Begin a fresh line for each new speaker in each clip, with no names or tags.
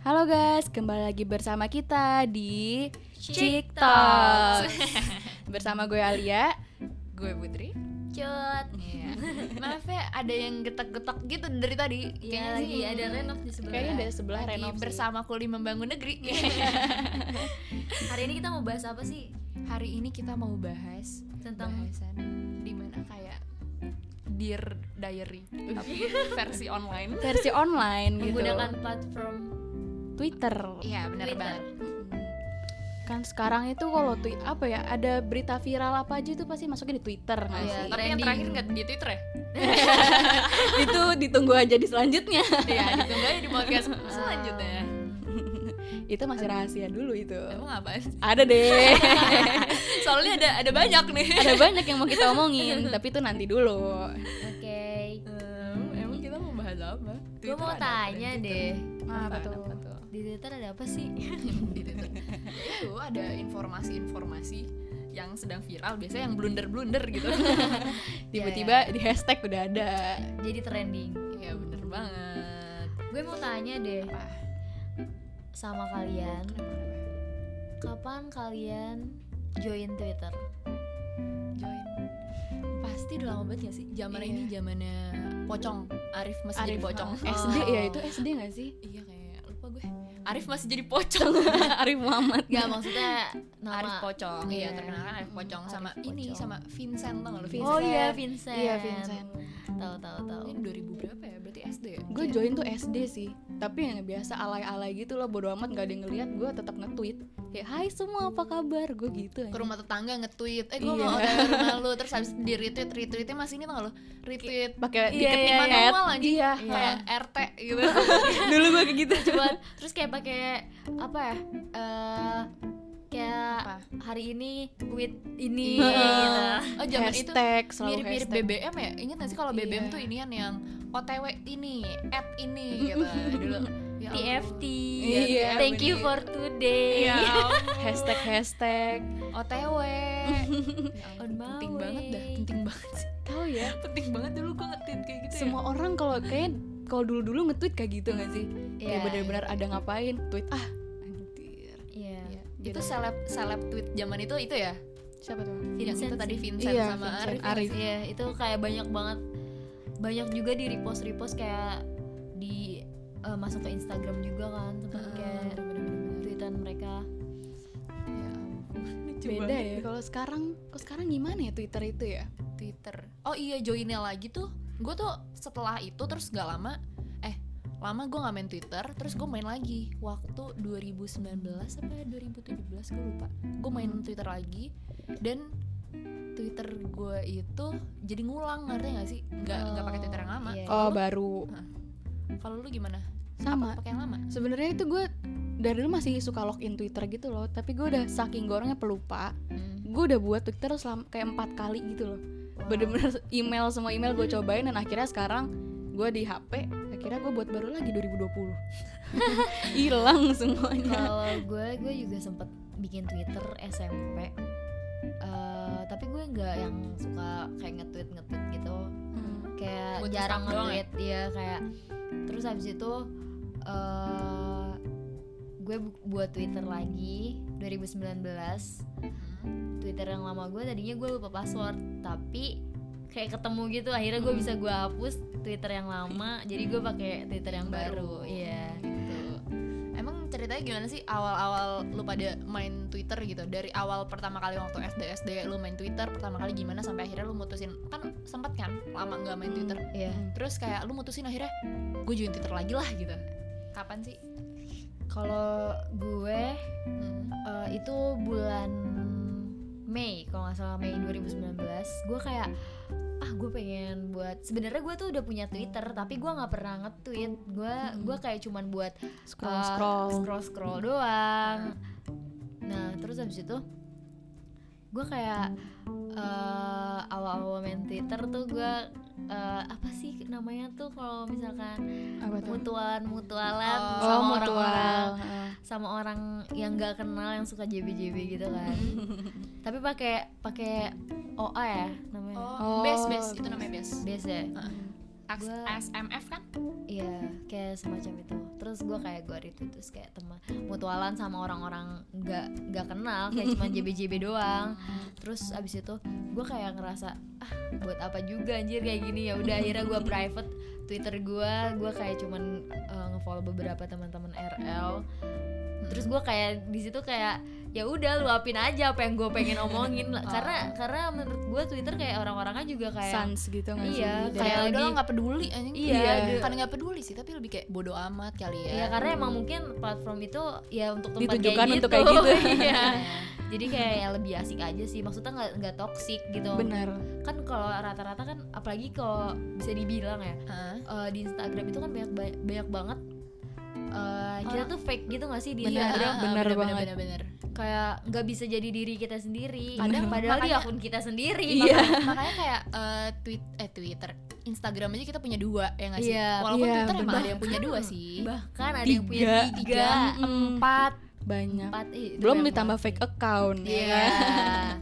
Halo guys, kembali lagi bersama kita di
Chick
Chick Talks. bersama gue Alia.
Gue Putri.
Cut.
Iya. Maaf ya, ada yang getak-getak gitu dari tadi.
Iya
Kayaknya
lagi
sih Hmm.
ada Renov di sebelah. Iya.
Kayaknya dari sebelah
lagi
Renov. sih.
bersama kuli membangun negeri.
Hari ini kita mau bahas apa sih?
Hari ini kita mau bahas
Tentang
bahasan dimana kayak Dear Diary tapi versi online.
versi online gitu.
menggunakan platform
Twitter.
Iya, benar
Twitter.
banget.
Kan sekarang itu kalau tui apa ya, ada berita viral apa aja itu pasti masuknya di Twitter nggak
Iya,
sih?
Tapi yang
Trending.
terakhir nggak di Twitter ya?
itu ditunggu aja di selanjutnya.
Iya, ditunggu aja di podcast
Ah.
selanjutnya.
itu masih rahasia dulu itu.
Emang apa?
Ada deh.
Soalnya ada ada banyak nih.
ada banyak yang mau kita omongin, tapi itu nanti dulu.
Oke.
emang kita mau bahas apa? ya?
Gue mau tanya deh.
Apa tuh?
Di Twitter ada apa sih?
Itu ada informasi-informasi yang sedang viral biasanya yang blunder-blunder gitu.
Tiba-tiba di hashtag udah ada.
Jadi trending.
Iya bener banget.
Gue mau tanya deh
Apa?
sama kalian, kapan kalian join Twitter?
Join. Pasti udah lama banget gak sih? Zaman
Iya.
ini zamannya pocong. Arif masih jadi
Arif,
pocong.
oh, SD ya itu SD gak sih?
Iya kayak lupa gue. Arif masih jadi pocong.
Arif Muhammad
Gak maksudnya
Arif
nama.
pocong. Iya,
Iya.
terkenal kan Arif pocong
Arif
sama ini
Pocong.
sama Vincent tau gak lo?
Vincent.
Oh iya Vincent.
Iya Vincent
Tahu tahu tahu.
Ini 2000 berapa ya? Berarti SD ya?
Gue join tuh SD sih Tapi yang biasa alay-alay gitu loh Bodo amat gak ada yang ngeliat Gue tetap nge-tweet Kayak hai semua apa kabar Gue gitu
ke
aja
rumah tetangga nge-tweet eh gue
Iya.
mau ke rumah lu terus habis di retweet retweetnya masih ini tau gak lo retweet
Pakai
diketik
diketik
manual
manual
anjing.
Iya
kayak RT gitu
Dulu gue kayak gitu
Cuman terus kayak pakai apa ya? Eh kayak
Apa?
hari ini with ini
Iya.
gitu.
oh zaman itu
Hashtag selalu
mirip-mirip
hashtag.
BBM ya ingat gak sih kalau BBM
Iya.
tuh inian yang OTW ini at ini gitu dulu Ya ampun.
TFT.
Iya,
Iya,
Thank you
bener.
for today.
Iya, ampun.
Hashtag hashtag
OTW Ya ampun,
On my
penting banget dah
way.
penting banget sih
Tahu ya
penting banget dulu gue nge-tweet kayak gitu ya
Semua orang kalau kayak kalau dulu-dulu nge-tweet kayak gitu gak sih?
Iya.
Kayak bener-bener ada ngapain Tweet ah Anjir
Iya.
Iya. itu seleb seleb tweet zaman itu itu ya
Siapa tuh?
yang
Vincent
itu tadi
sih.
Vincent
Iya,
sama
Vincent.
Arif, ya?
Arif.
Iya, itu kayak banyak banget banyak juga di repost-repost kayak di eh, masuk ke Instagram juga kan teman
Heeh,
kayak tweetan mereka.
Ya ampun, lucu
Beda
banget
ya kalau sekarang Kalau sekarang gimana ya Twitter itu ya?
Twitter. Oh iya joinnya lagi tuh. Gue tuh setelah itu terus gak lama eh lama gue gak main Twitter, terus gue main lagi waktu 2019 apa ya? 2017 gue lupa. Gue main Twitter lagi dan Twitter gue itu jadi ngulang ngerti gak sih? Nggak nggak pakai Twitter yang lama.
Iya.
Oh baru
Kalau lu gimana?
Sama
Pakai yang lama?
sebenarnya itu gue dari dulu masih suka login Twitter gitu loh tapi gue udah saking gue orangnya pelupa gue udah buat Twitter selama kayak empat kali gitu loh
ya.
bener-bener
Ah.
email semua email gue cobain dan akhirnya sekarang gue di HP akhirnya gue buat baru lagi 2020 hilang semuanya
Kalau gue, gue juga sempet bikin Twitter SMP. Eh, tapi gue nggak yang suka kayak nge-tweet nge-tweet gitu. Kayak
Buat
jarang
nge-stalk doang
nge-tweet ya kayak. Terus habis itu eh gue bu- buat Twitter lagi 2019.
Hmm.
Twitter yang lama gue tadinya gue lupa password, tapi kayak ketemu gitu akhirnya gue bisa gue hapus Twitter yang lama. jadi gue pakai Twitter yang baru. Iya.
gitu. Emang ceritanya gimana sih awal-awal lu pada main Twitter gitu? Dari awal pertama kali waktu SD SD lu main Twitter pertama kali gimana sampai akhirnya lu mutusin kan sempat kan lama nggak main Twitter.
Iya.
Terus kayak lu mutusin akhirnya gue join Twitter lagi lah gitu. Kapan sih?
Kalau gue
Hmm.
Eh, itu bulan Mei kalau nggak salah Mei 2019 gue kayak ah gue pengen buat sebenarnya gue tuh udah punya Twitter tapi gue nggak pernah nge-tweet gue gue kayak cuman buat
scroll scroll
Eh, scroll scroll doang nah terus habis itu gue kayak eh, awal-awal main Twitter tuh gue eh, apa sih namanya tuh kalau misalkan
apa tuh
mutuan mutualan
Oh,
Eh, sama
oh
orang-orang eh,
mutual Heeh.
sama orang yang nggak kenal yang suka JBJB gitu kan tapi pakai pakai OA ya namanya
Oh,
Oh,
base base itu namanya base.
biasa
Heeh. X-
Gua-
SMF kan?
Iya, kayak semacam itu. Terus gue kayak gue retweet terus kayak teman mutualan sama orang-orang nggak nggak kenal, kayak cuman JBJB doang. Terus abis itu gue kayak ngerasa ah buat apa juga anjir kayak gini ya udah akhirnya gue private Twitter gue, gue kayak cuman eh, ngefollow beberapa teman-teman RL. Terus gue kayak di situ kayak ya udah luapin aja apa yang gue pengen omongin lah. karena karena menurut gue Twitter kayak orang-orangnya juga kayak
sans gitu nggak sih
Iya,
Dari-
kayak
lagi-
udah lah, nggak peduli anjing.
Iya,
ada-
Bukan nggak peduli sih, tapi lebih kayak bodoh amat kali ya.
Ya karena emang mungkin platform itu ya untuk tempat
Ditujukan
kayak
untuk
gitu.
kayak gitu.
Iya. Jadi kayak ya lebih asik aja sih. Maksudnya nggak nggak toksik gitu.
benar
Kan kalau rata-rata kan apalagi kalau bisa dibilang ya
Hah?
eh, di Instagram itu kan banyak ba- banyak banget eh, kita tuh fake gitu gak sih di
Bener,
Instagram?
bener banget.
Ah, Bener, bener.
Kayak nggak bisa jadi diri kita sendiri.
Padahal-
padahal di
makanya-
akun kita sendiri.
Iya.
Makanya kayak eh, tweet eh Twitter, Instagram aja kita punya dua ya nggak sih?
Iya,
Walaupun
iya,
Twitter emang
bener.
ada yang punya dua sih.
Bahkan ada yang punya
Tiga.
tiga,
Mm,
empat,
banyak
empat. Ih, itu
belum
banyak
ditambah
banget
fake
sih.
account ya
Iya.
kan?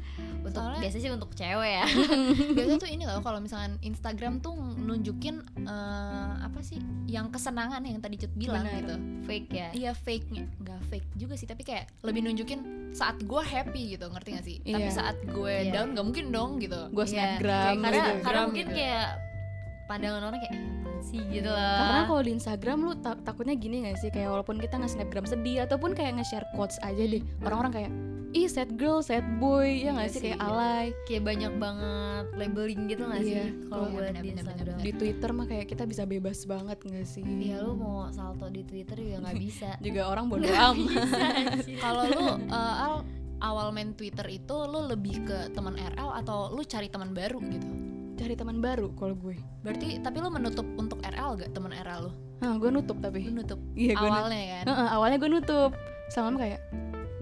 untuk
Soalnya-
biasanya sih untuk cewek ya.
Biasanya tuh ini loh kalau misalkan Instagram tuh nunjukin eh, apa sih yang kesenangan yang tadi Cut bilang
Bener.
gitu.
Fake ya.
Iya fake-nya, nggak fake juga sih tapi kayak lebih nunjukin saat gue happy gitu, ngerti gak sih? Tapi
Iya.
saat gue
Iya.
down nggak mungkin dong gitu.
gue
Iya.
snapgram
Kayak
karena
gitu.
Instagram
karena mungkin
gitu.
kayak pandangan orang kayak "Eh, apaan sih gitu lah
Karena kalau di Instagram lu ta- takutnya gini gak sih kayak walaupun kita nge snapgram sedih ataupun kayak nge-share quotes aja deh orang-orang kayak ih sad girl sad boy ya
Iya
nggak sih
sih,
kayak
iya.
alay
kayak banyak banget labeling gitu nggak
Iya,
sih kalau
iya,
buat di
benar-benar,
Instagram
di Twitter mah kayak kita bisa bebas banget gak sih
Iya lu mau salto di Twitter juga nggak bisa
juga orang bodo amat
Kalau lu eh, Al, awal main Twitter itu lu lebih ke teman RL atau lu cari teman baru gitu?
cari teman baru kalau gue
Berarti tapi lu menutup untuk RL gak teman RL lu?
Hah, gue nutup
Lu
tapi
nutup
iya gue nutup.
awalnya kan.
Heeh, awalnya gue nutup sama kayak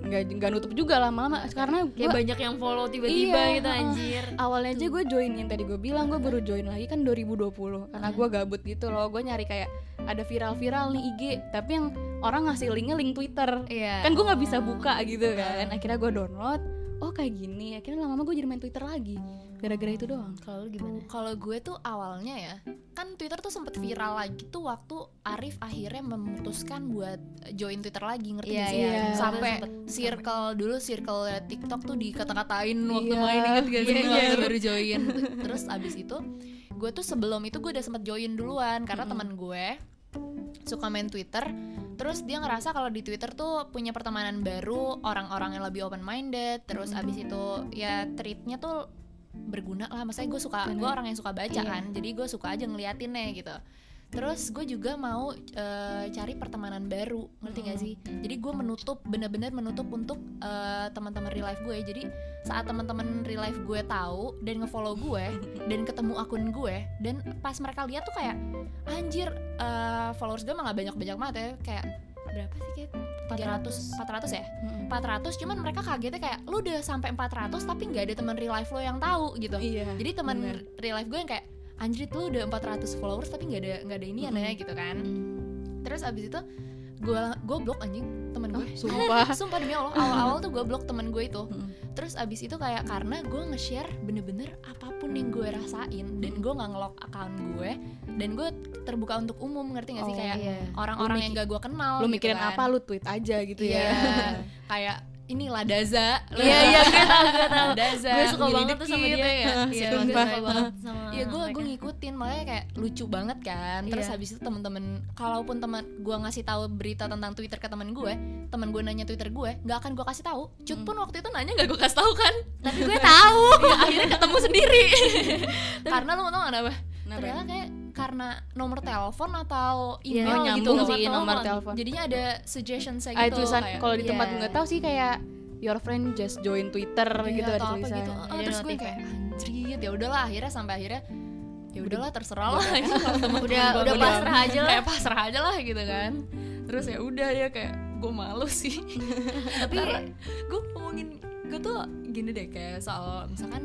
nggak nggak nutup juga lama-lama karena
kayak
gue
banyak yang follow tiba-tiba
Iya,
gitu
heeh.
anjir
awalnya aja gue join yang tadi gue bilang gue baru join lagi kan 2020 karena gue gabut gitu loh gue nyari kayak ada viral-viral nih IG tapi yang orang ngasih linknya link Twitter
iya
kan gue nggak bisa buka gitu kan akhirnya gue download oh kayak gini akhirnya lama-lama gue jadi main Twitter lagi gara-gara itu doang
kalau lu gimana
Kalau gue tuh awalnya ya, kan Twitter tuh sempet viral lagi tuh waktu Arif akhirnya memutuskan buat join Twitter lagi, ngerti
Iya,
gak sih?
iya.
Sampai
Sempet-
circle dulu circle TikTok tuh dikata-katain waktu
Iya,
main ingat gak sih?
iya,
Waktu
iya.
baru join. Terus abis itu gue tuh sebelum itu gue udah sempet join duluan karena teman gue suka main Twitter. Terus dia ngerasa kalau di Twitter tuh punya pertemanan baru, orang-orang yang lebih open minded. Terus abis itu ya treatnya tuh berguna lah. Maksudnya gue suka, gue orang yang suka baca
Iya.
kan, jadi gue suka aja ngeliatinnya gitu. Terus gue juga mau eh, cari pertemanan baru, ngerti
Oh.
gak sih? Jadi gue menutup, bener-bener menutup untuk eh, teman-teman real life gue. Jadi saat teman-teman real life gue tahu dan ngefollow gue dan ketemu akun gue dan pas mereka lihat tuh kayak anjir eh, followers gue emang gak banyak-banyak banget ya kayak berapa sih kayak 300 400 ya
Hmm.
400 cuman mereka kagetnya kayak lu udah sampai 400 tapi nggak ada teman real life lo yang tahu gitu
iya
jadi teman
bener.
real life gue yang kayak anjrit lu udah 400 followers tapi nggak ada nggak ada ini ya gitu kan terus abis itu gue gue blok anjing temen
Oh.
gue
Hmm. sumpah
sumpah demi allah awal-awal tuh gue blok temen gue itu
Mm.
terus abis itu kayak karena gue nge-share bener-bener apapun yang gue rasain dan gue nggak ngelock account gue dan gue terbuka untuk umum ngerti gak sih
Oh,
kayak
iya.
orang-orang
Lu
yang gak gue kenal
lu
gitu
mikirin
kan.
apa lu tweet aja gitu
Iya.
ya
kayak ini Ladaza
Iya, iya,
gue tau Ladaza
gue suka
Willy
banget tuh sama
Dikit,
dia
ya nggak?
Iya,
Sumpah.
gue suka banget sama
Iya gue gue
mereka.
ngikutin makanya kayak lucu banget kan. Terus
Iya.
habis itu temen-temen kalaupun teman gue ngasih tahu berita tentang Twitter ke teman gue, teman gue nanya Twitter gue, nggak akan gue kasih tahu. Cut pun waktu itu nanya nggak gue kasih tahu kan.
tapi gue tahu
Ya, akhirnya ketemu sendiri. Karena lu kan tau gak kenapa? Ternyata Nah, kayak karena nomor telepon atau
Iya,
email gitu
Ya, nyambung
loh.
sih nomor telepon
Jadinya ada suggestion saya
ah
gitu
tulisan
kayak-
kalau di tempat
Iya.
gue nggak tahu sih kayak your friend just join Twitter
Iya,
gitu ada
atau apa
tulisan
gitu. Ah,
Ada
terus gue
notif
kayak anjrit ya udahlah akhirnya sampai akhirnya ya udahlah terserah lah
udah udah pasrah aja lah
kayak pasrah aja lah gitu kan terus ya udah ya kayak gue malu sih
tapi
gue ngomongin gue tuh gini deh kayak soal misalkan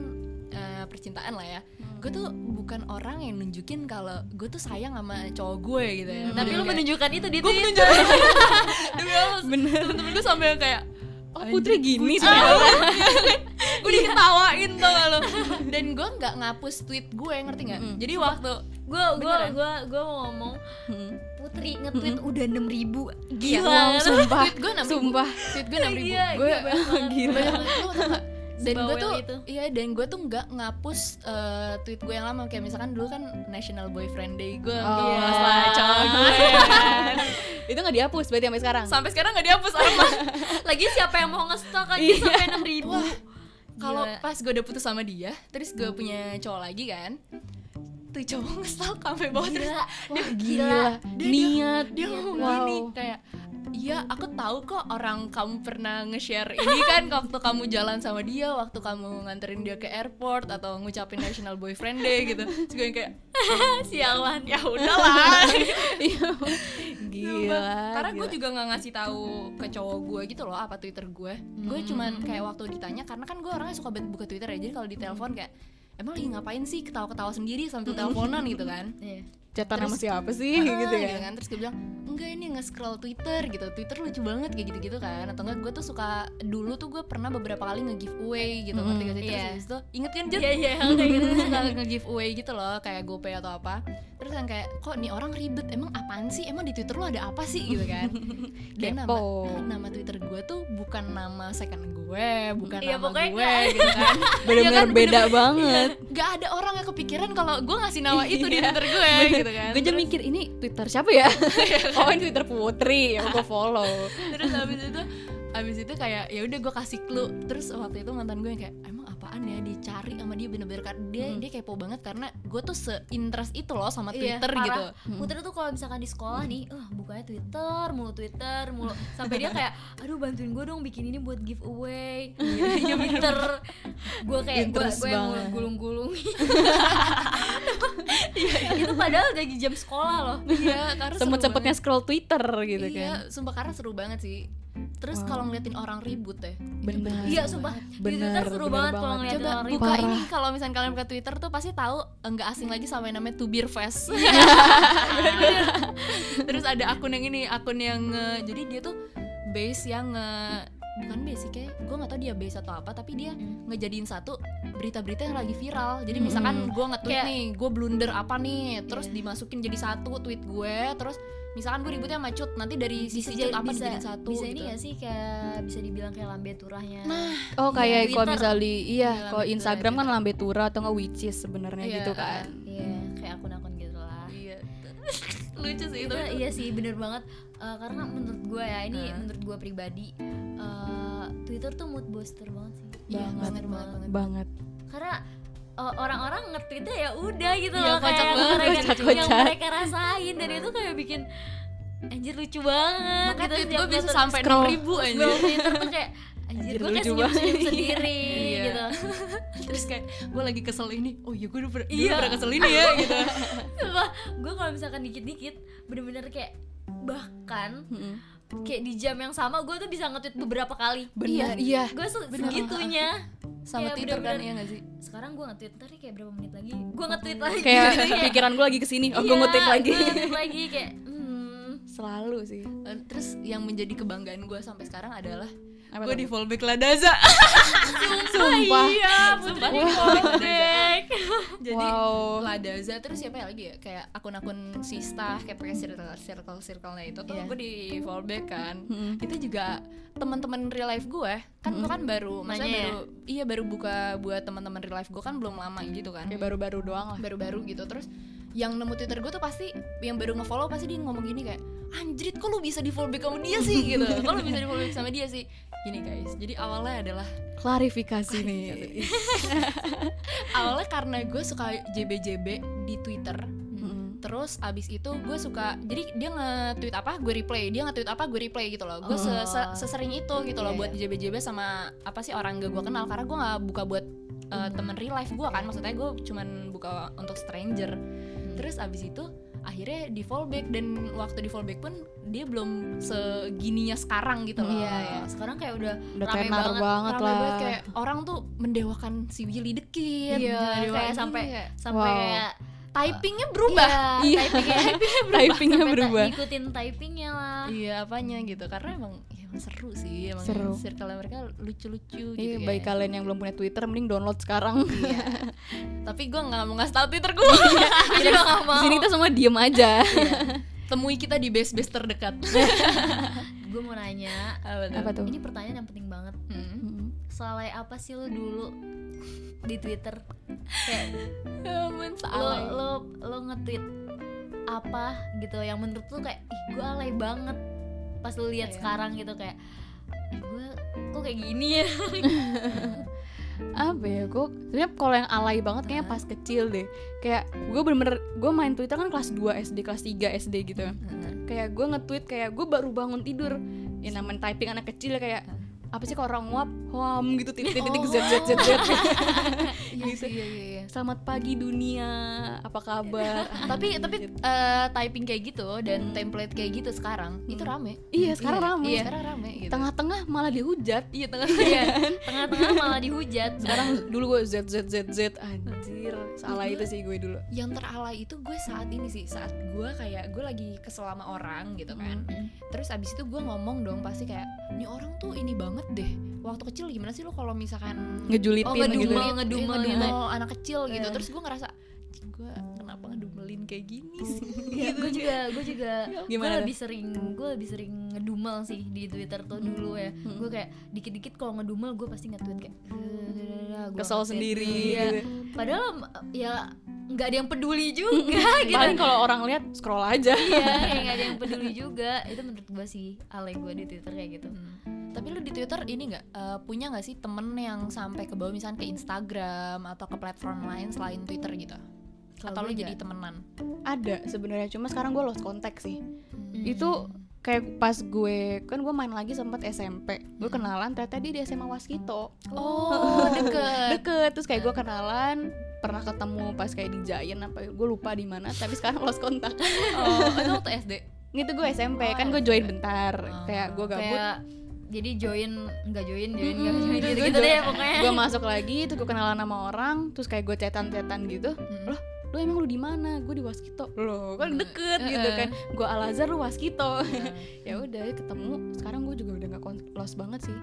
eh, percintaan lah ya gue tuh bukan orang yang nunjukin kalau gue tuh sayang sama cowok gue gitu ya
tapi lu
Kayak-
menunjukkan itu di
gue
Twitter.
menunjukkan demi Allah
bener
temen-temen gue sampai kayak Ah.
oh putri gini sih
Anjir. gue diketawain tuh lo dan gue nggak ngapus tweet gue ngerti nggak
Mm-mm.
jadi waktu
gue gue
Beneran.
gue gue mau ngomong
Hmm.
putri nge-tweet udah enam ribu gila
Iya,
wow, sumpah
tweet gue enam ribu
sumpah
tweet gue enam ribu
Iya,
gue
iya, banyak banget.
gila.
Banyak banget.
Lu tau nggak? dan gue
Sebawel
tuh
itu.
iya dan gue tuh nggak ngapus eh, tweet gue yang lama kayak misalkan dulu kan National Boyfriend Day gue
Oh,
oh,
iya.
masalah cowok gue
itu nggak dihapus berarti sampai sekarang
sampai sekarang nggak dihapus sama
lagi siapa yang mau ngestok aja
Iya.
sampai enam ribu
Wah, kalau
Gila.
pas gue udah putus sama dia terus gue punya cowok lagi kan tuh cowok ngestalk sampai bawah terus
gila
Wah,
gila.
gila niat
dia ngomong
Iya. Wow.
gini kayak Iya, aku tahu kok orang kamu pernah nge-share ini kan waktu kamu jalan sama dia, waktu kamu nganterin dia ke airport atau ngucapin National Boyfriend Day gitu. Terus gue yang kayak
sialan
ya udahlah.
Iya. gila
"Ya Karena gue
Iya, gila.
juga nggak ngasih tahu ke cowok gue gitu loh apa Twitter gue. Gue
Hmm.
cuman kayak waktu ditanya karena kan gue orangnya suka banget buka Twitter ya. Jadi kalau ditelepon kayak emang lagi ngapain sih ketawa-ketawa sendiri sambil
Hmm.
teleponan gitu kan.
Iya.
catatan sama
terus-
siapa sih
Ah,
gitu ya
kan terus gue bilang enggak ini nge-scroll Twitter gitu Twitter lucu banget kayak gitu-gitu kan atau enggak gue tuh suka dulu tuh gue pernah beberapa kali nge-giveaway gitu
Mm,
ngerti gak sih terus
iya.
habis itu inget kan Jun?
Iya, iya,
kayak gitu gue suka nge-giveaway gitu loh kayak GoPay atau apa terus yang kayak kok nih orang ribet emang apaan sih emang di Twitter lo ada apa sih gitu kan dan nama eh,
Kepo.
nama Twitter gue tuh bukan nama second gue bukan
Iya,
nama
pokoknya
gue gitu kan
bener-bener
kan,
beda banget
nggak ada orang yang kepikiran kalau gue ngasih nama itu di
Iya.
Twitter gue gitu kan
gue jadi mikir ini twitter siapa ya oh ini twitter putri ya gue follow
terus abis itu abis itu kayak ya udah gue kasih clue terus waktu itu mantan gue yang kayak emang apaan ya dicari sama dia bener-bener kan dia
Hmm.
dia kepo banget karena gue tuh seinterest itu loh sama
Iya,
Twitter
parah.
gitu
Hmm.
Putri tuh kalau misalkan di sekolah nih, eh bukanya Twitter, mulu Twitter, mulu sampai dia kayak, aduh bantuin gue dong bikin ini buat giveaway, Iya, Twitter, gue kayak gue
Interest
gue yang
banget.
gulung-gulung, itu padahal udah di jam sekolah loh.
iya karena seru
sempet-sempetnya scroll twitter
banget.
gitu
iya
kan
sumpah karena seru banget sih terus
Wow.
kalau ngeliatin orang ribut ya itu
Bener.
bener-bener
Iya
seru
sumpah,
banget.
di Twitter
Bener,
seru
bener
banget kalau
banget.
ngeliatin
coba
orang ribut.
Nah, buka
Parah.
ini kalau misalnya kalian buka Twitter tuh pasti tahu enggak asing lagi sama yang namanya to beer fest
Iya.
terus ada akun yang ini akun yang eh, jadi dia tuh base yang eh, bukan base sih kayak gue nggak tahu dia base atau apa tapi dia
Hmm.
ngejadiin satu berita-berita yang lagi viral jadi
Hmm.
misalkan gue nge-tweet
Kayak-
nih gue blunder apa nih terus
Iya.
dimasukin jadi satu tweet gue terus misalkan gue ributnya sama Cut nanti dari sisi
jadi-
Cut apa
bisa-
dijadiin satu
bisa
gitu.
ini ya? gak sih kayak bisa dibilang kayak lambe turahnya.
oh kayak kalau
Iya, Twitter.
misalnya iya
Iya,
kalau
Lambe
Instagram
Tura,
kan lambe tura atau nggak witches sebenarnya
Iya,
gitu
ah.
kan
Iya, kayak akun-akun gitu lah.
iya lucu sih
Itu
itu
iya sih bener banget Eh, karena menurut gue ya ini
Nah.
menurut gue pribadi eh, Twitter tuh mood booster banget sih
Iya,
Banget,
bener banget
banget
karena eh, orang-orang nge-tweetnya ya udah gitu
Iya,
loh kayak
kocak
yang
banget,
mereka-
kocak-kocak.
yang mereka rasain dan itu kayak bikin anjir lucu banget
Makanya
gitu
tweet
setiap
gue bisa
nonton
sampai
scroll.
6 ribu aja
scroll Twitter tuh kayak anjir
Anjir,
gue kayak
lucu banget.
senyum-senyum
Iya.
sendiri
Iya.
gitu
Terus kayak gue lagi kesel ini Oh iya gue udah pernah,
Iya.
iya. pernah kesel ini ya gitu
gue kalau misalkan dikit-dikit bener-bener kayak bahkan
Mm-mm.
kayak di jam yang sama gue tuh bisa nge-tweet beberapa kali
bener Ah, iya
gue se-
Bener.
segitunya Iya,
Sama Twitter
ya?
bener-bener.
kan iya gak sih?
sekarang gue nge-tweet ntar nih kayak berapa menit lagi gue nge-tweet lagi
kayak
gitu ya.
pikiran gue lagi kesini oh gue
Iya,
ngutip lagi
gua nge-tweet lagi kayak hmm,
selalu sih
Eh, Terus yang menjadi kebanggaan gue sampai sekarang adalah
Apa
Gue
tuh?
di fallback Ladaza
Ah, sumpah
iya putri
Sumpah.
di
Wow.
callback
Jadi
wow
Ladaza terus siapa ya lagi ya kayak akun-akun sista kayak pakai circle circle circle-nya itu tuh
Iya.
gue di fallback kan
Mm-mm.
itu juga teman-teman real life gue kan gue
Mm-mm.
kan baru maksudnya
Makanya ya.
baru iya baru buka buat teman-teman real life gue kan belum lama gitu kan
kayak baru-baru doang lah
baru-baru gitu terus yang nemu twitter gue tuh pasti yang baru ngefollow pasti dia ngomong gini kayak anjrit kok lu bisa di follow back sama dia sih gitu kok lu bisa di follow back sama dia sih gini guys jadi awalnya adalah
klarifikasi nih
awalnya karena gue suka jbjb di twitter
Mm-mm.
terus abis itu gue suka jadi dia nge-tweet apa gue reply dia nge-tweet apa gue reply gitu loh gue se- se- sesering itu gitu
Oh.
loh
Iya,
buat jbjb sama apa sih orang gak gue kenal karena gue nggak buka buat uh, temen real life gue kan maksudnya gue cuman buka untuk stranger terus abis itu akhirnya di fallback dan waktu di fallback pun dia belum segininya sekarang gitu loh
iya ya sekarang kayak udah
udah
Rame
tenar banget,
banget,
Rame
lah
banget kayak orang tuh mendewakan si Willy the Kid
Iya, kayak
mendewakan
iya.
ini,
sampai-
kayak-
sampai
Wow.
kayak
typingnya berubah
Iya.
iya typingnya
typingnya
Sampai tak-
berubah
ngikutin typingnya lah
iya apanya gitu karena emang ya, emang seru sih emang
Seru.
circle mereka lucu-lucu gitu
Iya,
ya.
baik kalian yang belum punya Twitter mending download sekarang.
Iya. tapi gue nggak mau ngasih tau twitter gue
jadi nggak
Di
mau
sini kita semua diem aja.
temui kita di base base terdekat Ah,
gue mau nanya
Apa tuh?
ini pertanyaan yang penting banget
Hmm.
Mm.
salai apa sih lu dulu di twitter kayak
Ya ampun,
lo
salah.
lo lo nge-tweet apa gitu yang menurut lu kayak ih gue alay banget pas lu lihat
Iya.
sekarang gitu kayak eh, gue kok kayak gini ya
Apa ya? Gue sebenarnya kalau yang alay banget kayaknya pas kecil deh. Kayak gue bener-bener gue main Twitter kan kelas 2 SD, kelas 3 SD gitu. Kayak gue nge-tweet kayak gue baru bangun tidur. Ya namanya typing anak kecil ya kayak apa sih kalau orang nguap, hoam gitu titik titik z z z z.
Iya
Gitu.
sih, iya, iya, iya.
Selamat pagi dunia, apa kabar?
Ah,
tapi
gitu.
tapi eh, typing kayak gitu
Hmm.
dan template kayak gitu sekarang itu rame
Iya, sekarang rame.
iya, sekarang rame gitu.
Tengah-tengah malah dihujat.
iya tengah iya
tengah-tengah malah dihujat
Sekarang dulu gue z z z z anjir. Salah itu sih gue dulu.
yang teralai itu gue saat ini sih saat gue kayak gue lagi kesel sama orang
Hmm.
gitu kan terus abis itu gue ngomong dong pasti kayak ini orang tuh ini banget deh waktu kecil gimana sih lo kalau misalkan
Ngejulitin
oh
gitu.
ngedumel
Iya,
ngedumel
ngedumel.
gitu, anak kecil gitu
Eh.
terus gue ngerasa gue kenapa ngedumelin kayak gini sih Gitu
gue Iya, juga gue juga gue
Gimana tuh?
lebih sering gue lebih sering ngedumel sih di twitter tuh dulu ya gue kayak dikit-dikit kalau ngedumel gue pasti nge-tweet kayak "Eh, gua
Kesel
nge-tweet."
sendiri
Iya.
gitu.
padahal em, ya nggak ada yang peduli juga gitu
Paling kalau orang lihat scroll aja.
iya kayak nggak ada yang peduli juga itu menurut gue sih alay gue di twitter kayak gitu
Hmm. tapi lu di twitter ini nggak eh, punya nggak sih temen yang sampai ke bawah misalkan ke instagram atau ke platform lain selain twitter gitu
Kalau
atau
gue
lu jadi
nggak.
temenan
Ada sebenarnya, cuma sekarang gue lost contact sih.
Hmm.
Itu kayak pas gue kan gue main lagi sempet SMP. Gue kenalan ternyata dia di SMA Waskito.
oh deket
Deket terus kayak gue kenalan pernah ketemu pas kayak di Giant apa gue lupa di mana tapi sekarang lost kontak
oh itu waktu sd
itu gue SMP
Oh,
kan gue join bentar
Oh.
kayak gue gabut
kayak jadi join nggak join join nggak
Mm-mm,
join
terus
gitu,
gua
gitu deh
join.
pokoknya
gue masuk lagi terus gue kenalan sama orang terus kayak gue cetan-cetan gitu
Hmm.
loh lu emang lu di mana gue di Waskito loh kan
Hmm.
deket gitu
Eh, eh.
kan gue Al Azhar lu Waskito ya udah ketemu sekarang gue juga udah nggak kon- lost banget sih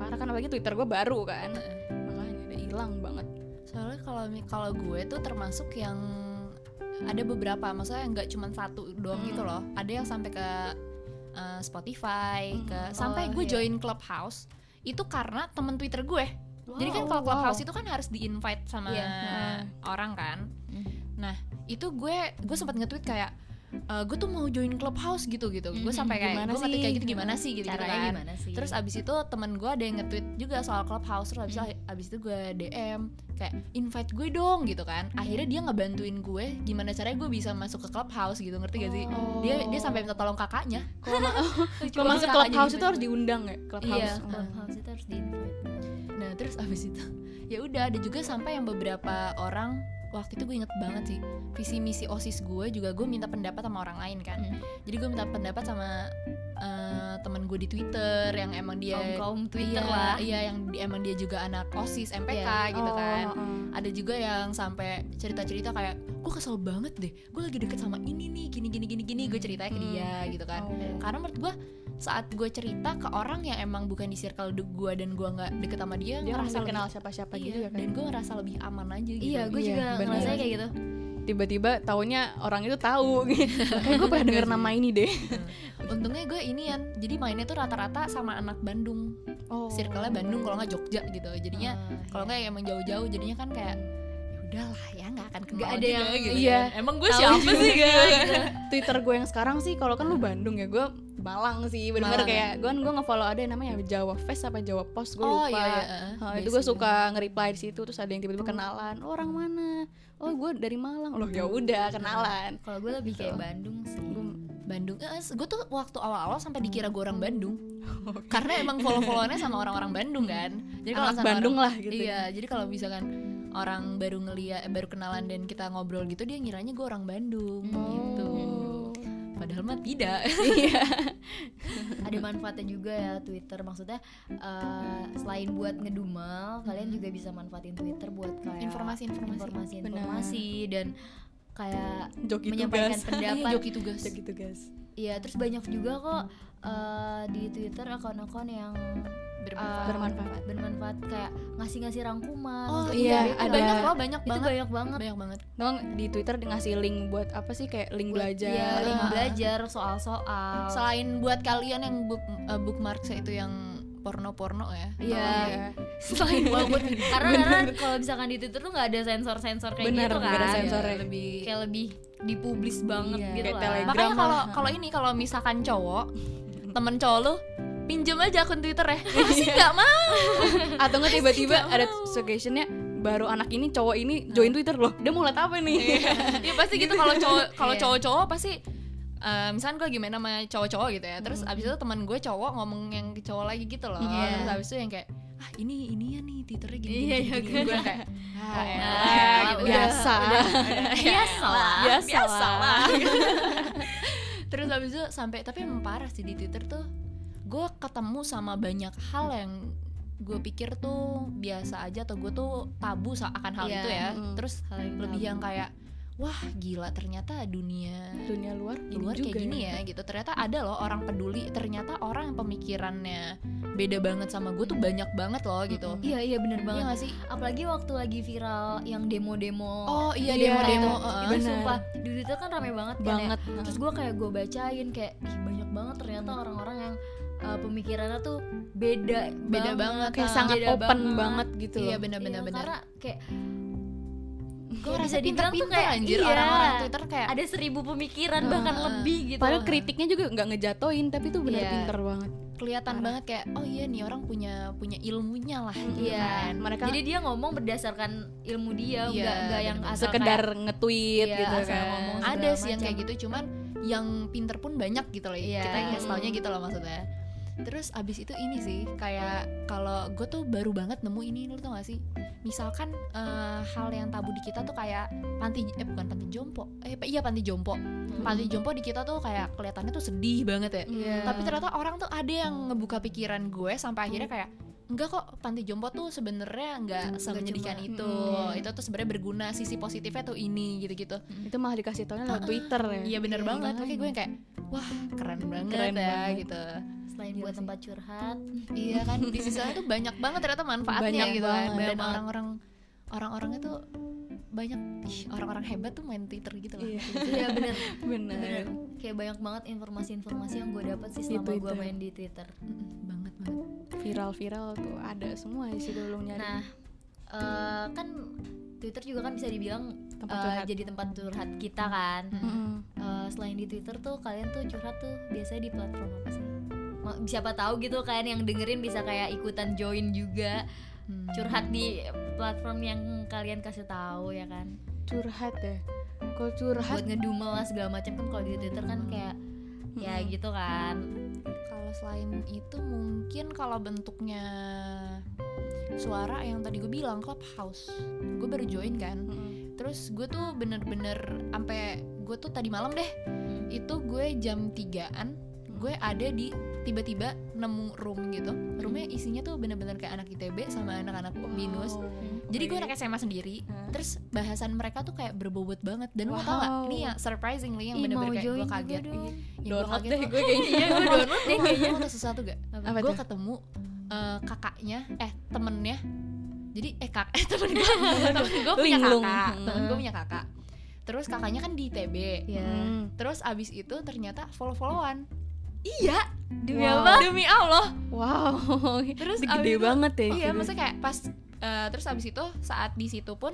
parah kan apalagi Twitter gue baru kan makanya udah hilang banget
soalnya kalau mi- kalau gue tuh termasuk yang ada beberapa maksudnya nggak cuma satu doang
Hmm.
gitu loh ada yang sampai ke eh, Spotify
Hmm.
ke
Oh,
sampai gue
iya.
join clubhouse itu karena temen Twitter gue jadi kan kalau clubhouse itu kan harus di invite
Oh,
sama
Iya.
orang kan
Hmm.
nah itu gue gue sempat nge-tweet kayak eh, gue tuh mau join clubhouse gitu gitu gue
Hmm,
sampai kayak
gimana
gue nge-tweet
sih?
kayak gitu gimana sih gitu,
caranya
kan
gimana sih
Terus abis itu temen gue ada yang nge-tweet juga soal Clubhouse Terus abis,
Hmm.
abis itu gue DM Kayak invite gue dong gitu kan
Hmm.
Akhirnya dia ngebantuin gue Gimana caranya gue bisa masuk ke Clubhouse gitu Ngerti gak sih?
Oh.
Dia dia sampai minta tolong kakaknya
kalau ma-
Lucu
kalau masuk
banget kakaknya
clubhouse
di-
itu harus diundang ya clubhouse
Iya.
Oh.
clubhouse itu harus di invite
Nah terus abis itu ya udah ada juga sampai yang beberapa orang Waktu itu gue inget banget sih Visi misi OSIS gue juga gue minta pendapat sama orang lain kan
Hmm.
Jadi gue minta pendapat sama eh, temen gue di Twitter Yang emang dia
kaum kaum twitter
Iya,
lah
Iya, yang di- emang dia juga anak OSIS, MPK gitu
Oh,
kan.
oh, oh.
Ada juga yang sampai cerita-cerita kayak gue kesel banget deh. Gue lagi deket sama ini nih, gini gini gini gini. Gue ceritanya ke
Hmm.
dia gitu kan.
Oh.
Karena menurut gue saat gue cerita ke orang yang emang bukan di circle gue dan gue nggak deket sama dia,
dia
ngerasa
nggak
lebih-
kenal siapa-siapa
Iya,
gitu ya
dan
kan
gue ngerasa lebih aman aja gitu.
iya gue
Iya,
juga
bener.
ngerasanya kayak gitu
tiba-tiba taunya orang itu tahu gitu. kayak gue Iya. pernah denger nama ini deh
Untungnya gue inian. Jadi mainnya tuh rata-rata sama anak Bandung.
oh. Ah.
Circle-nya Bandung kalau nggak Jogja gitu. Jadinya
Ah, iya.
kalau nggak emang jauh-jauh jadinya kan kayak ya udahlah ya nggak akan kenal
Nggak ada
juga
yang-
gitu
iya.
kan. emang gue
Tahu
siapa
juga.
sih gitu kan.
Twitter gue yang sekarang sih kalau kan lu Bandung ya gue Malang sih bener-bener
Malang, ya?
kayak gue kan gue ngefollow ada yang namanya Jawa Fest apa Jawa Post
Oh,
gue lupa
iya,
Iya
Nah, itu gue
Basic.
suka nge-reply di situ terus ada yang tiba-tiba kenalan "Oh, orang mana oh gue dari Malang loh ya udah kenalan
kalau gue lebih kayak
Gitu.
Bandung sih
Gua-
Bandung eh, gue tuh waktu awal-awal sampai dikira gue orang Bandung karena emang follow-followannya sama orang-orang Bandung kan jadi kalau
anak
sama
Bandung lah
orang,
gitu
iya jadi kalau misalkan orang baru ngeliat baru kenalan dan kita ngobrol gitu dia ngiranya gue orang Bandung gitu
Oh.
padahal mah tidak
Oh. iya
ada manfaatnya juga ya Twitter maksudnya eh, selain buat
Hmm.
ngedumel kalian juga bisa manfaatin Twitter buat kayak
Iya. Informasi-informasi.
informasi informasi dan kayak
joki
menyampaikan
tugas
Iya,
pendapat
joki tugas.
joki tugas
Iya terus banyak juga kok eh, di Twitter akun-akun yang eh,
Bermanfaat.
Bermanfaat.
bermanfaat kayak ngasih-ngasih rangkuman
oh
untuk
iya,
hari itu.
ada.
banyak loh, banyak
itu
banget.
banyak banget
Banyak banget.
Emang di Twitter dia ngasih link buat apa sih kayak link
Buat-
belajar Oh,
iya, link
Ah.
belajar soal-soal
Selain buat kalian yang book eh, bookmarks itu yang porno-porno ya.
Iya.
Oh,
selain walaupun karena
Bener.
karena kalau misalkan di Twitter tuh nggak ada sensor-sensor kayak
Bener,
gitu kan
nggak ada
Iya,
sensornya.
lebih
kayak lebih dipublis banget
Iya,
gitu
kayak
lah
Telegram.
Makanya kalau
lah.
kalau ini kalau misalkan cowok temen cowok lu pinjem aja akun Twitter ya. Pasti enggak mau.
atau nggak tiba-tiba
Pasti nggak
ada suggestionnya baru anak ini cowok ini
Nah.
join Twitter loh dia mau liat apa nih
ya pasti gitu kalau cowok kalau
Iya.
cowok-cowok pasti eh, misalkan gue lagi main sama cowok-cowok gitu ya terus abis itu teman gue cowok ngomong yang ke cowok lagi gitu loh
Hmm. Iya.
terus abis itu yang kayak ah ini ini ya nih twitternya gini
Iya,
gini,
iya,
gini."
kan.
gue kayak
Ah,
ya,
elah,
Iya.
ya,
gitu.
udah,
biasa Iya,
biasa lah
biasa, lah terus abis itu sampai tapi emang parah sih di twitter tuh gue ketemu sama banyak hal yang gue pikir tuh biasa aja atau gue tuh tabu sa- akan hal
Iya,
itu ya
mm.
terus
Hal yang ya.
lebih
tabu.
yang kayak wah gila ternyata dunia
dunia luar gini
luar
juga
kayak gini ya gitu ternyata ada loh orang peduli ternyata orang yang pemikirannya beda banget sama gue tuh banyak banget loh gitu
Mm-mm.
iya iya bener
iya
banget
gak sih
apalagi waktu lagi viral yang demo-demo
oh iya
Iya,
demo-demo
demo.
heeh.
itu
bener.
sumpah di Twitter kan rame banget kan ya.
banget
terus gue kayak gue bacain kayak Ih, banyak banget ternyata orang-orang yang uh, pemikirannya tuh beda
beda banget
kayak
ah.
sangat
beda
open
banget.
banget gitu loh
iya benar-benar
Iya,
benar
karena kayak
gue
kayak
rasa
bisa dibilang tuh
pinter-pinter
kayak-
anjir
iya.
orang-orang twitter kayak
ada seribu pemikiran
Ah,
bahkan
ah.
lebih gitu
Nah, padahal kritiknya juga nggak ngejatoin tapi tuh benar
Iya.
pinter banget
kelihatan
Parah.
banget kayak oh iya nih orang punya punya ilmunya lah gitu
Iya.
kan.
mereka
jadi dia ngomong berdasarkan ilmu dia
Iya,
nggak nggak yang asal
sekedar
kayak,
nge-tweet
Iya,
gitu
asal
kan
ngomong.
ada
segala
sih yang
macam.
kayak gitu cuman yang pinter pun banyak gitu loh
Iya.
kita kasih taunya gitu loh maksudnya terus abis itu ini sih kayak kalau gue tuh baru banget nemu ini lu tau gak sih misalkan eh, hal yang tabu di kita tuh kayak panti eh bukan panti jompo eh iya panti jompo panti jompo di kita tuh kayak kelihatannya tuh sedih banget ya
Iya.
tapi ternyata orang tuh ada yang ngebuka pikiran gue sampai akhirnya kayak enggak kok panti jompo tuh sebenarnya nggak semenyedihkan
cuma- Hmm.
itu
Mm, iya.
itu tuh sebenarnya berguna sisi positifnya tuh ini gitu-gitu
itu malah dikasih taunya lewat Twitter ya
Iya bener
Iya,
banget,
makanya.
makanya gue yang kayak wah keren banget
Keren
ya
banget.
gitu.
selain
Iya
buat
sih.
tempat curhat
Iya kan di sisanya tuh banyak banget ternyata manfaatnya
Banyak
gitu kan.
banget.
Dan orang-orang orang-orangnya tuh banyak ih, orang-orang hebat tuh main Twitter gitu loh.
Iya,
iya bener
bener
bener kayak banyak banget informasi-informasi yang gue dapat sih
Di
selama gue
Twitter.
main di Twitter
Mm-mm, banget banget.
viral-viral tuh ada semua di situ lu nyari
nah eh, kan Twitter juga kan bisa dibilang
tempat
eh,
curhat
jadi tempat curhat kita kan
Mm-mm.
Eh, selain di Twitter tuh kalian tuh curhat tuh biasanya di platform apa sih? Ma- Siapa tahu gitu kan yang dengerin bisa kayak ikutan join juga
Hmm.
curhat di platform yang kalian kasih tahu ya kan.
curhat ya kalau curhat
Buat ngedumel lah segala macam kan kalau di Twitter kan kayak ya
Mm-mm.
gitu kan.
Kalau selain itu mungkin kalau bentuknya suara yang tadi gue bilang clubhouse. Gue baru join kan.
Mm-mm.
Terus gue tuh bener-bener sampai gue tuh tadi malam deh itu gue jam 3an gue ada di tiba-tiba nemu room gitu roomnya isinya tuh bener-bener kayak anak ITB sama anak-anak binus
Hmm. Wow. Iya.
jadi gue
Oke.
anak SMA sendiri
Hah?
terus bahasan mereka tuh kayak berbobot banget dan lu mau tau gak
Wow.
nih ya surprisingly yang
Ih,
bener-bener
mau
kayak gue
join juga
kaget
dong.
Yang gua
download
kaget
deh
tuh,
gue kayaknya
Iya, gue download deh kayaknya.
Lu tau sesuatu gak?
Apa
gue
tuh?
ketemu eh, kakaknya eh temennya jadi eh kak eh temen gue gue punya
Linglung. Hmm.
kakak temen gue
Heeh.
punya kakak terus kakaknya kan di ITB
Ya.
Mm.
terus abis itu ternyata follow followan iya
Demi
Wow.
apa?
demi allah
wow
terus
Itu
abis
gede
itu-
banget ya
iya
gitu.
maksudnya kayak pas eh, terus abis itu saat di situ pun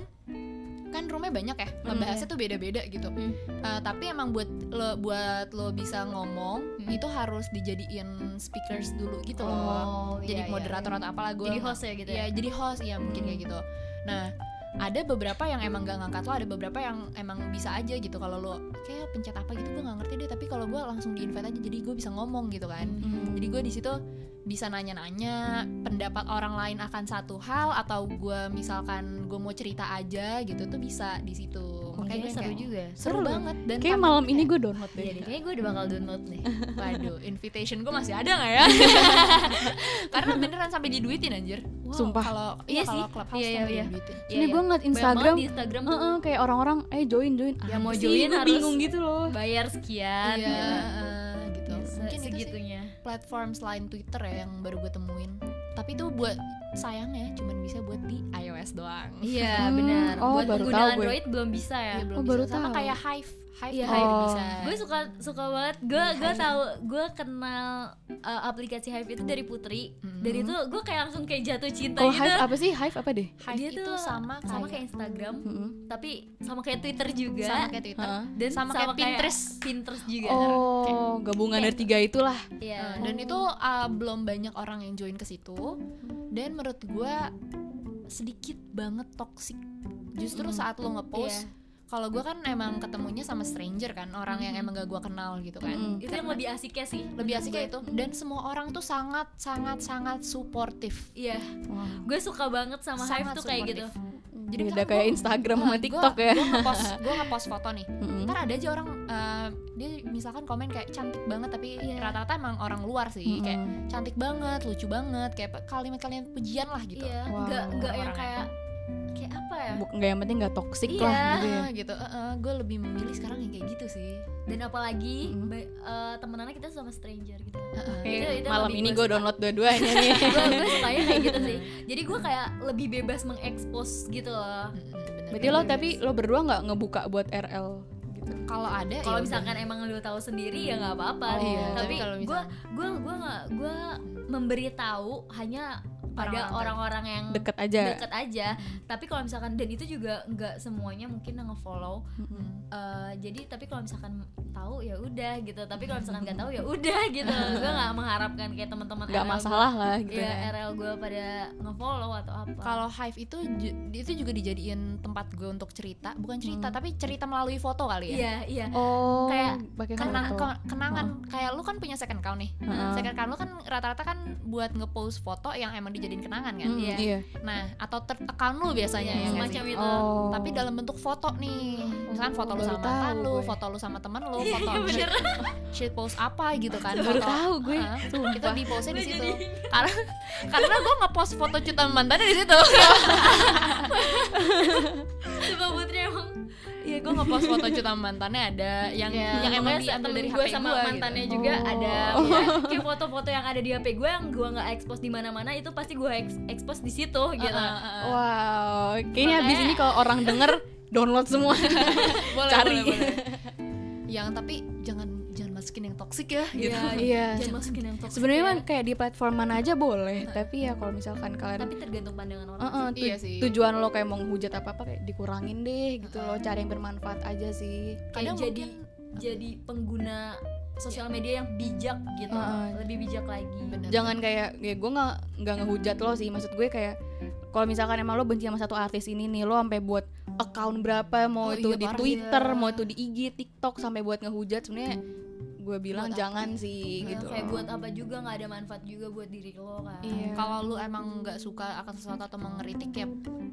kan roomnya banyak ya ngebahasnya tuh beda-beda gitu
Hmm.
Eh, tapi emang buat lo buat lo bisa ngomong
Hmm.
itu harus dijadiin speakers dulu gitu loh
Oh, iya,
jadi
iya.
moderator atau apalah gue
Jadi host ya gitu
ya
ya.
jadi host ya mungkin kayak gitu nah ada beberapa yang emang gak ngangkat lo ada beberapa yang emang bisa aja gitu kalau lo kayak pencet apa gitu gue gak ngerti deh tapi kalau gue langsung di invite aja jadi gue bisa ngomong gitu kan
Mm.
jadi gue di situ bisa nanya-nanya pendapat orang lain akan satu hal atau gue misalkan gue mau cerita aja gitu tuh bisa di situ
Kayaknya
makanya gue
seru
kayak,
juga. ya.
seru
Seru.
banget dan
kayak
tanpa-
malam ini gue download
Iya, deh,
deh
kayaknya gue udah bakal download nih.
waduh invitation gue masih ada nggak ya karena beneran sampai diduitin anjir Wow,
Sumpah.
Kalau
Iya
iya, kalau
sih.
clubhouse
Iya,
tuh
iya,
ada
iya.
yang duitnya.
Ini gue ngeliat Instagram,
di Instagram tuh
eh, eh, kayak orang-orang, eh join join. Apa
Yang mau
sih?
join
Gua
harus-
bingung gitu loh.
bayar sekian
Iya,
gitu.
eh, gitu.
Se-
Mungkin itu sih
segitunya
platform selain Twitter ya yang baru gue temuin. Tapi itu buat sayangnya cuman bisa buat di iOS doang.
iya
Hmm,
benar
oh,
buat
baru
pengguna
tahu gue.
android belum bisa ya
Ya, belum
Oh, baru
bisa. Sama
tahu.
kayak Hive. Hive
Iya,
juga
Hive.
belum bisa.
gue suka suka banget gue gue tahu gue kenal uh, aplikasi Hive itu dari Putri
Mhm.
dari itu gue kayak langsung kayak jatuh cinta
Kalau
gitu
Hive apa sih? Hive apa deh?
Hive
dia
itu
tuh
sama kayak,
sama kayak Instagram
Mm-mm.
tapi sama kayak Twitter juga
sama kayak Twitter.
Heeh.
dan
sama kayak Pinterest.
Pinterest juga
Oh, gabungan dari tiga itulah.
Iya.
Nah, dan itu uh, belum banyak orang yang join ke situ. Dan menurut gue sedikit banget toxic. Justru
Mm.
saat lo ngepost,
Iya.
kalau gue kan emang ketemunya sama stranger kan, orang yang emang gak gue kenal gitu kan.
Mm.
itu yang lebih asiknya sih
Lebih
menurut
asik
gue.
kayak itu. Dan semua orang tuh sangat sangat sangat suportif.
iya
Wah.
gue suka banget sama Hive
Sangat
tuh kayak gitu
supportive.
Jadi beda
misalkan
kayak
gua-
Instagram
Nah,
sama
gua-
TikTok ya.
Gue ngepost, gue ngepost foto nih.
Mm-mm.
Ntar ada aja orang uh, dia misalkan komen kayak cantik banget tapi
Iya.
rata-rata emang orang luar sih
Mm-mm.
kayak cantik banget, lucu banget, kayak pe- kalimat-kalimat pujian lah gitu.
iya
Wow.
nggak nggak yang
Orang-orang.
kayak kayak apa ya
Bu- nggak yang penting nggak toksik
Iya.
lah gitu ya.
Ah, gitu. gue lebih memilih sekarang yang kayak gitu sih.
dan apalagi
Hmm.
Mhm.
ba- eh, temenannya kita sama stranger gitu
Oke,
Itu- itu
malam
lebih
ini
gua
gue
suka.
download
Iya,
dua-duanya nih.
gue gue sukanya kayak gitu sih jadi gue kayak lebih bebas mengekspos gitu loh
Berarti lo tapi lo berdua nggak ngebuka buat RL gitu.
kalau ada ya
kalau
udah.
misalkan emang lu tahu sendiri ya nggak apa-apa
Oh, iya.
tapi
Tapi kalau
gue gue gue nggak gue memberitahu hanya pada orang-orang yang
Deket Iya. aja.
deket aja tapi kalau misalkan dan itu juga nggak semuanya mungkin yang ngefollow
Mm-mm.
Eh, jadi tapi kalau misalkan tahu ya udah gitu tapi kalau misalkan nggak tahu ya udah gitu gue nggak mengharapkan kayak teman-teman
Nggak
RL gua-
masalah lah gitu
Iya,
ya.
RL gue pada ngefollow atau apa
kalau Hive itu ju- itu juga dijadiin tempat gue untuk cerita, bukan cerita
Hmm.
tapi cerita melalui foto kali ya.
iya iya
Oh,
Kayak
pakai
Kenang-
foto. Oh.
ke- kenangan kayak lu kan punya second account nih.
Heeh.
Second account lu kan rata-rata kan buat ngepost foto yang emang dijadiin kenangan kan.
Mm,
iya.
Iya.
Nah, atau third account lu biasanya ya.
Iya,
nggak
semacam
sih?
itu
Oh.
Tapi dalam bentuk foto nih. Misalkan foto lu
Baru
sama
tahu
mantan lu,
gue. Iya,
foto lu sama temen lu, foto
bener
shit post apa gitu kan
baru
foto-
tahu gue.
Heeh. itu
Sumpah.
di postnya di
Gua
situ
jadi-
karena karena gue ngepost foto cuitan mantannya di situ
coba putri emang
iya gue ngepost foto cuitan mantannya ada yang yang emang diambil dari
gue
HP
sama
Iya. gua,
mantannya
gitu.
juga
Oh.
ada Pokoknya Iya, kayak foto-foto yang ada di HP gue yang gue nggak expose di mana-mana itu pasti gue ex- expose di situ gitu
Heeh, heeh.
Wow, kayaknya
Makanya-
habis ini kalau orang denger download semua.
Boleh,
Cari.
boleh, boleh. yang tapi jangan jangan masukin yang toksik ya gitu
Iya,
Iya.
jangan masukin yang toxic
Sebenarnya
ya.
kan kayak di platform mana aja boleh, tapi ya kalau misalkan kalian
tapi tergantung pandangan orang
Heeh,
sih.
tu-
Iya sih.
tujuan lo kayak mau hujat apa apa kayak dikurangin deh gitu lo cari yang bermanfaat aja sih
kayak
kadang
jadi
mungkin
jadi pengguna sosial media yang bijak gitu
Heeh.
lebih bijak lagi
Bener.
jangan kayak ya gue nggak nggak ngehujat lo sih maksud gue kayak kalau misalkan emang lo benci sama satu artis ini nih lo sampai buat account berapa mau
Oh
itu
iya,
di
parah.
Twitter
Iya.
mau itu di IG TikTok sampai buat ngehujat sebenarnya gue bilang
Buat apa? Iya,
jangan sih
Nah,
gitu
kayak buat apa juga nggak ada manfaat juga buat diri lo kan
Iya.
kalau lu emang nggak suka akan sesuatu atau mengkritik ya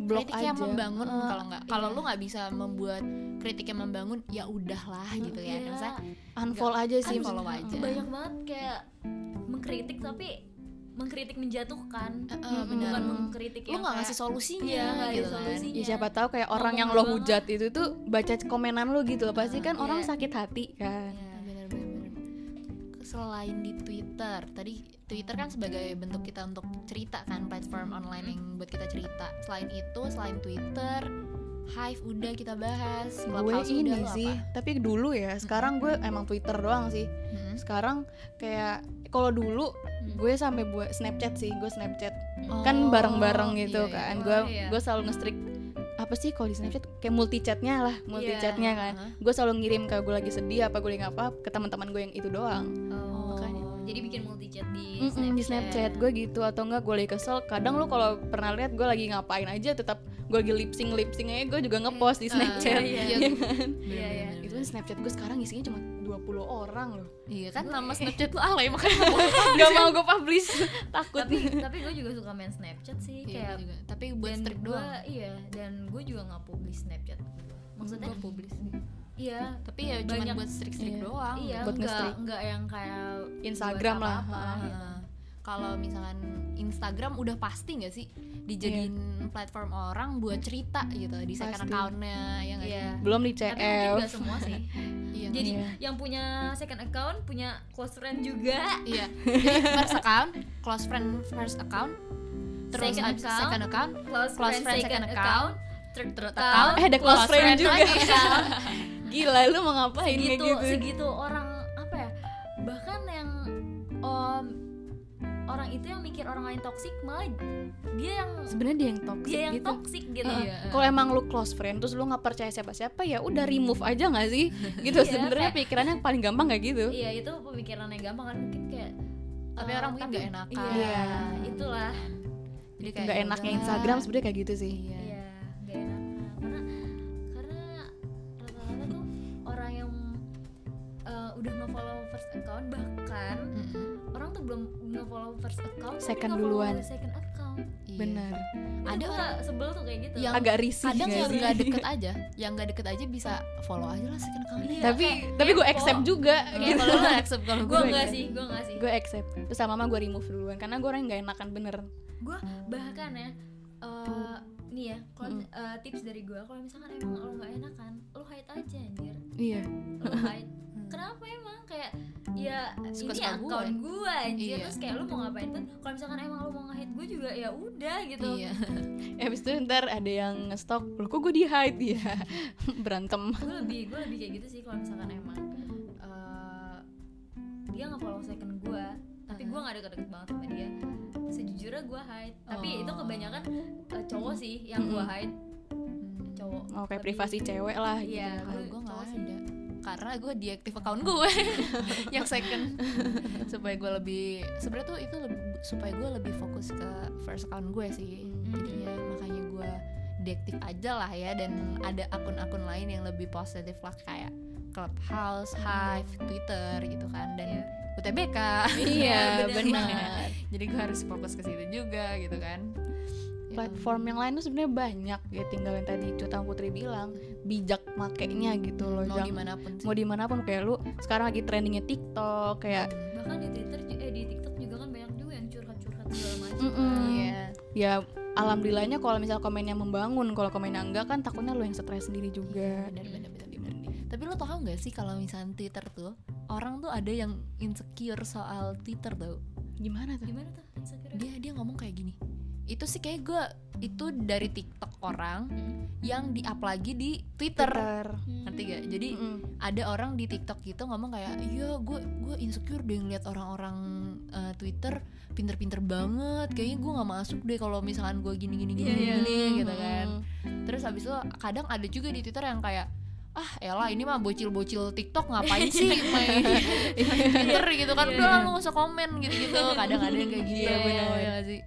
blok
kritik
aja
yang membangun
Heeh.
kalau nggak kalau
iya.
lu nggak bisa membuat kritik yang membangun ya udahlah gitu ya
Iya.
Maksudnya,
unfollow aja sih
unfollow
maksudnya.
aja.
banyak banget kayak mengkritik tapi mengkritik menjatuhkan
eh,
Mm-mm.
bener.
bukan mengkritik
lu
yang
nggak
kayak-
ngasih solusinya
Iya, nggak ada
gitu kan.
solusinya.
Ya siapa tahu kayak orang yang lo
Ngomong
hujat itu tuh baca komenan lo gitu loh pasti kan
Iya.
orang sakit hati kan.
Iya.
Bener, bener, bener. selain di Twitter tadi Twitter kan sebagai bentuk kita untuk cerita kan platform online yang
Hmm.
buat kita cerita selain itu selain Twitter Hive udah kita bahas
gue
Clubhouse udah
ini
lu
sih
apa?
tapi dulu ya sekarang gue emang twitter doang sih
Hmm.
sekarang kayak kalau dulu
Hmm.
gue sampai buat snapchat sih gue snapchat kan bareng-bareng
Oh,
gitu
iya, iya.
kan
Wah,
gue
iya.
gue selalu nge-streak apa sih kalau di snapchat kayak multi chatnya lah multi
Iya,
chatnya kan
heeh.
gue selalu ngirim kalau gue lagi sedih apa gue lagi apa ke teman-teman gue yang itu doang
Oh,
makanya.
jadi bikin multi chat di
Mm-mm,
Snapchat.
di snapchat gue gitu atau enggak gue lagi kesel kadang lo kalau pernah lihat gue lagi ngapain aja tetap gue lagi lip sync lip sync aja gue juga ngepost di
Ah,
snapchat
iya,
ya
iya.
kan?
Iya, iya.
itu kan snapchat gue sekarang isinya cuma 20 orang loh
iya kan nama Snapchat lu alay makanya
Gak
kan.
mau gue publish Takut
tapi tapi gue juga suka main Snapchat sih
Iya,
kayak
gua juga. tapi buat
dan
streak
gua,
doang
iya dan gue juga nggak publish Snapchat gua. maksudnya
Gua publish.
iya
tapi ya cuma
Banyak.
buat streak-streak
Iya.
doang gitu.
iya
buat
nggak
nge-streak.
nggak yang kayak
Instagram
buat
lah,
apa-apa,
ah,
gitu.
Heeh. kalau misalkan Instagram udah pasti nggak sih dijadiin platform orang buat cerita gitu di
Pasti.
second accountnya ya nggak
Iya.
belum di
Tapi mungkin
CF
nggak semua sih.
sih Iya nggak
Jadi
sih?
Iya.
yang punya second account punya close friend juga.
iya Jadi first account close friend first account terus
Second
abis
account.
second account
Close,
Close friend,
friend,
second
second
account.
account, third, third
account,
account.
eh ada close, friend, juga
lagi.
gila lu mau ngapain kayak
segitu
gitu
segitu orang apa ya bahkan yang um, orang itu yang mikir orang lain toksik malah dia yang
sebenarnya dia yang toxic
dia yang
gitu
toksik gitu
Heeh.
Iya.
kalau emang lu close friend terus lu nggak percaya siapa siapa ya udah
Hmm.
remove aja nggak sih gitu
Iya,
sebenarnya
kayak-
pikirannya paling gampang kayak gitu
iya itu pemikiran yang gampang kan mungkin kayak
Ah, tapi
eh,
orang mungkin nggak enakan
iya itulah
jadi kayak
nggak
ya
enaknya
udah.
Instagram sebenarnya kayak gitu sih
iya
iya nggak enakan karena karena rata-rata tuh orang yang eh, udah nge-follow first account bahkan
Mm-mm.
orang tuh belum nge-follow first account tapi
Second
nge-follow
duluan.
second account
Iya.
benar
Ada
ada orang sebel tuh kayak gitu
Yang
agak risih
kadang
nggak
yang
sih?
nggak deket aja yang nggak deket aja bisa follow aja lah second account
Iya,
tapi
kayak
tapi gue
kepo.
accept juga
Iya,
gitu
kalau lu accept kalau
gue
gue
Gua
enggak
enggak.
sih gue enggak sih
gue accept terus sama mama gue remove duluan karena gue orang yang nggak enakan bener
gue bahkan ya eh, nih ya kalau
Mm.
eh, tips dari gue kalau misalkan emang lo nggak enakan lo hide aja anjir
iya
lo hide
Mm.
kenapa emang kayak ya ini
Suka-suka gua.
akun gue anjir
Iya.
terus kayak lo mau ngapain pun kalau misalkan emang lo mau nge-hide gue juga ya udah gitu
iya
abis Eh, itu ntar ada yang ngestok lo kok gue di hide ya berantem
gue lebih gue lebih kayak gitu sih kalau misalkan emang eh, dia nggak follow second gue tapi gue nggak deket-deket banget sama dia sejujurnya gue hide tapi itu
Oh.
kebanyakan eh, cowok sih yang gue
Mm-mm.
hide cowok
oh kayak
Lebih-
privasi cewek lah gitu.
iya
kalau gue nggak
cowok sih.
ada karena gue deactive account gue yang second supaya gue lebih sebenarnya tuh itu lebih, supaya gue lebih fokus ke first account gue sih
Hmm.
jadinya makanya gue deactive aja lah ya dan ada akun-akun lain yang lebih positif lah kayak Clubhouse, Hive, Twitter gitu kan dan UTBK
iya
Bener.
benar
jadi gue harus fokus ke situ juga gitu kan
Iya.
Ya
platform yang lain tuh sebenarnya banyak ya tinggal yang tadi Cutang Putri bilang bijak makainya gitu
ampun.
loh
mau
Jang.
gimana pun sih
mau dimanapun kayak lu sekarang lagi trendingnya TikTok kayak
bahkan di Twitter ju- eh di TikTok juga kan banyak juga yang curhat-curhat segala macam
Mm-mm.
Iya.
ya alhamdulillahnya kalau misal komennya membangun kalau komennya enggak kan takutnya lu yang stres sendiri juga
Iya, benar benar benar benar tapi lo tau nggak sih kalau misalnya Twitter tuh orang tuh ada yang insecure soal Twitter tau
gimana tuh
Iya. gimana tuh Instagram
dia dia ngomong kayak gini itu sih kayak gue itu dari TikTok orang
Mm.
yang di up lagi di Twitter, ngerti gak jadi
Mm-mm.
ada orang di TikTok gitu ngomong kayak iya gue gue insecure deh ngeliat orang-orang eh, Twitter pinter-pinter banget kayaknya gue nggak masuk deh kalau misalkan gue gini gini gini
Iya, iya.
gini gitu kan Terus habis itu kadang ada juga di Twitter yang kayak ah elah ini mah bocil-bocil TikTok ngapain sih main main Twitter gitu kan
Iya,
udah lah,
iya.
lu gak usah komen gitu-gitu kadang ada yang kayak gitu
Iya, benar.
ya nggak sih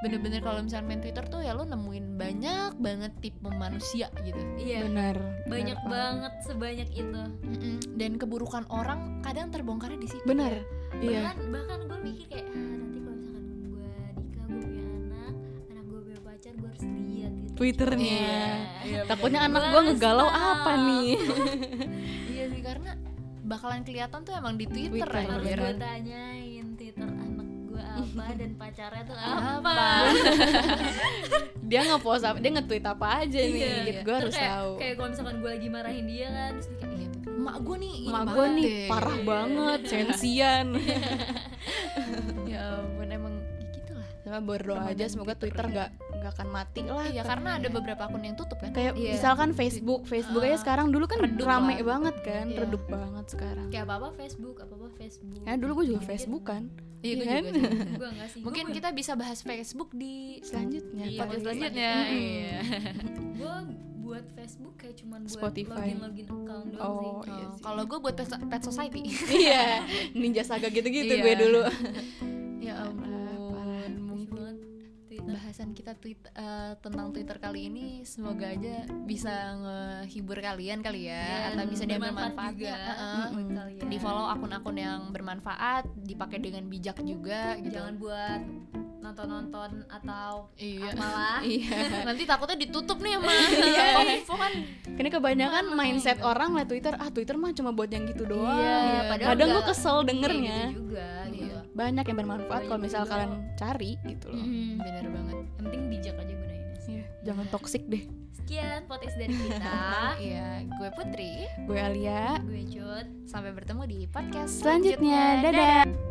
bener-bener kalau misalnya main Twitter tuh ya lo nemuin banyak banget tipe manusia gitu
iya
benar benar,
banyak
Pak.
banget sebanyak itu
Mm-mm. dan keburukan orang kadang terbongkarnya di situ
benar iya
bahkan bahkan gue mikir kayak ah, nanti kalau misalkan gue nikah gue punya anak anak gue punya pacar gue harus lihat gitu
Twitternya.
Iya.
takutnya anak
Gua
gua ngegalau
stop.
apa nih
iya sih karena bakalan kelihatan tuh emang di Twitter, ya,
Twitter,
aja.
harus
bener.
gue tanyain Twitter anak gue apa dan pacarnya tuh apa
Apa?
dia nge-post apa dia nge-tweet apa aja nih
Iya.
gitu gue
Terus
harus
kayak,
tahu
kayak kalau misalkan gue lagi marahin dia kan terus dia kayak
Gitu. Mak gue nih ini
Mak gue
banget Iya.
nih
deh.
parah banget, sensian.
Ya ampun emang ya gitu lah
Sama berdoa
Ramadan
aja semoga
Twitter
Twitter
ya.
nggak nggak akan mati lah.
Iya karena ada beberapa akun yang tutup kan
kayak
Iya.
misalkan Facebook, Facebook aja
Ah,
sekarang dulu kan
redup
rame
lah.
banget kan,
Iya.
redup banget sekarang.
kayak apa apa Facebook apa apa Facebook
Karena dulu gue juga Facebook kan.
Iya, gue
Iya
juga
kan?
sih.
gue enggak sih
Mungkin kita bisa bahas Facebook di
Selanjutnya.
Iya,
podcast
podcast
selanjutnya.
selanjutnya.
Iya.
gue buat Facebook kayak cuman buat
Spotify.
login login account doang sih
Oh, iya
Oh,
sih.
Kalau gue buat pet, Pet society.
iya, Ninja Saga gitu-gitu
Iya.
gue dulu. parah.
ya ampun.
Lucu
Mungkin
banget Twitter
bahasan kita tweet eh, tentang Twitter kali ini semoga aja bisa ngehibur kalian kali
Iya,
ya atau bisa dia
bermanfaat
bermanfaat
juga.
Mm-mm.
kalian.
Di follow akun-akun yang bermanfaat, dipakai dengan bijak juga gitu.
jangan buat nonton-nonton atau
Iya.
apalah
iya.
Nanti takutnya ditutup nih sama
Iya.
info kan.
Karena kebanyakan
Mana
mindset
gitu.
orang lah Twitter, ah Twitter mah cuma buat yang gitu doang.
Iya,
Iya,
padahal gitu
padahal gue
nggak
kesel
Kayak
dengernya.
gitu juga
Iya.
gitu
banyak yang bermanfaat kalau
Banyak
misal
juga.
kalian cari gitu loh
Mm-mm.
bener banget
Yang penting bijak aja gunainnya sih.
Iya, jangan toksik deh
Sekian potes dari kita.
iya gue Putri
gue Alia
gue Jod.
sampai bertemu di podcast
selanjutnya dadah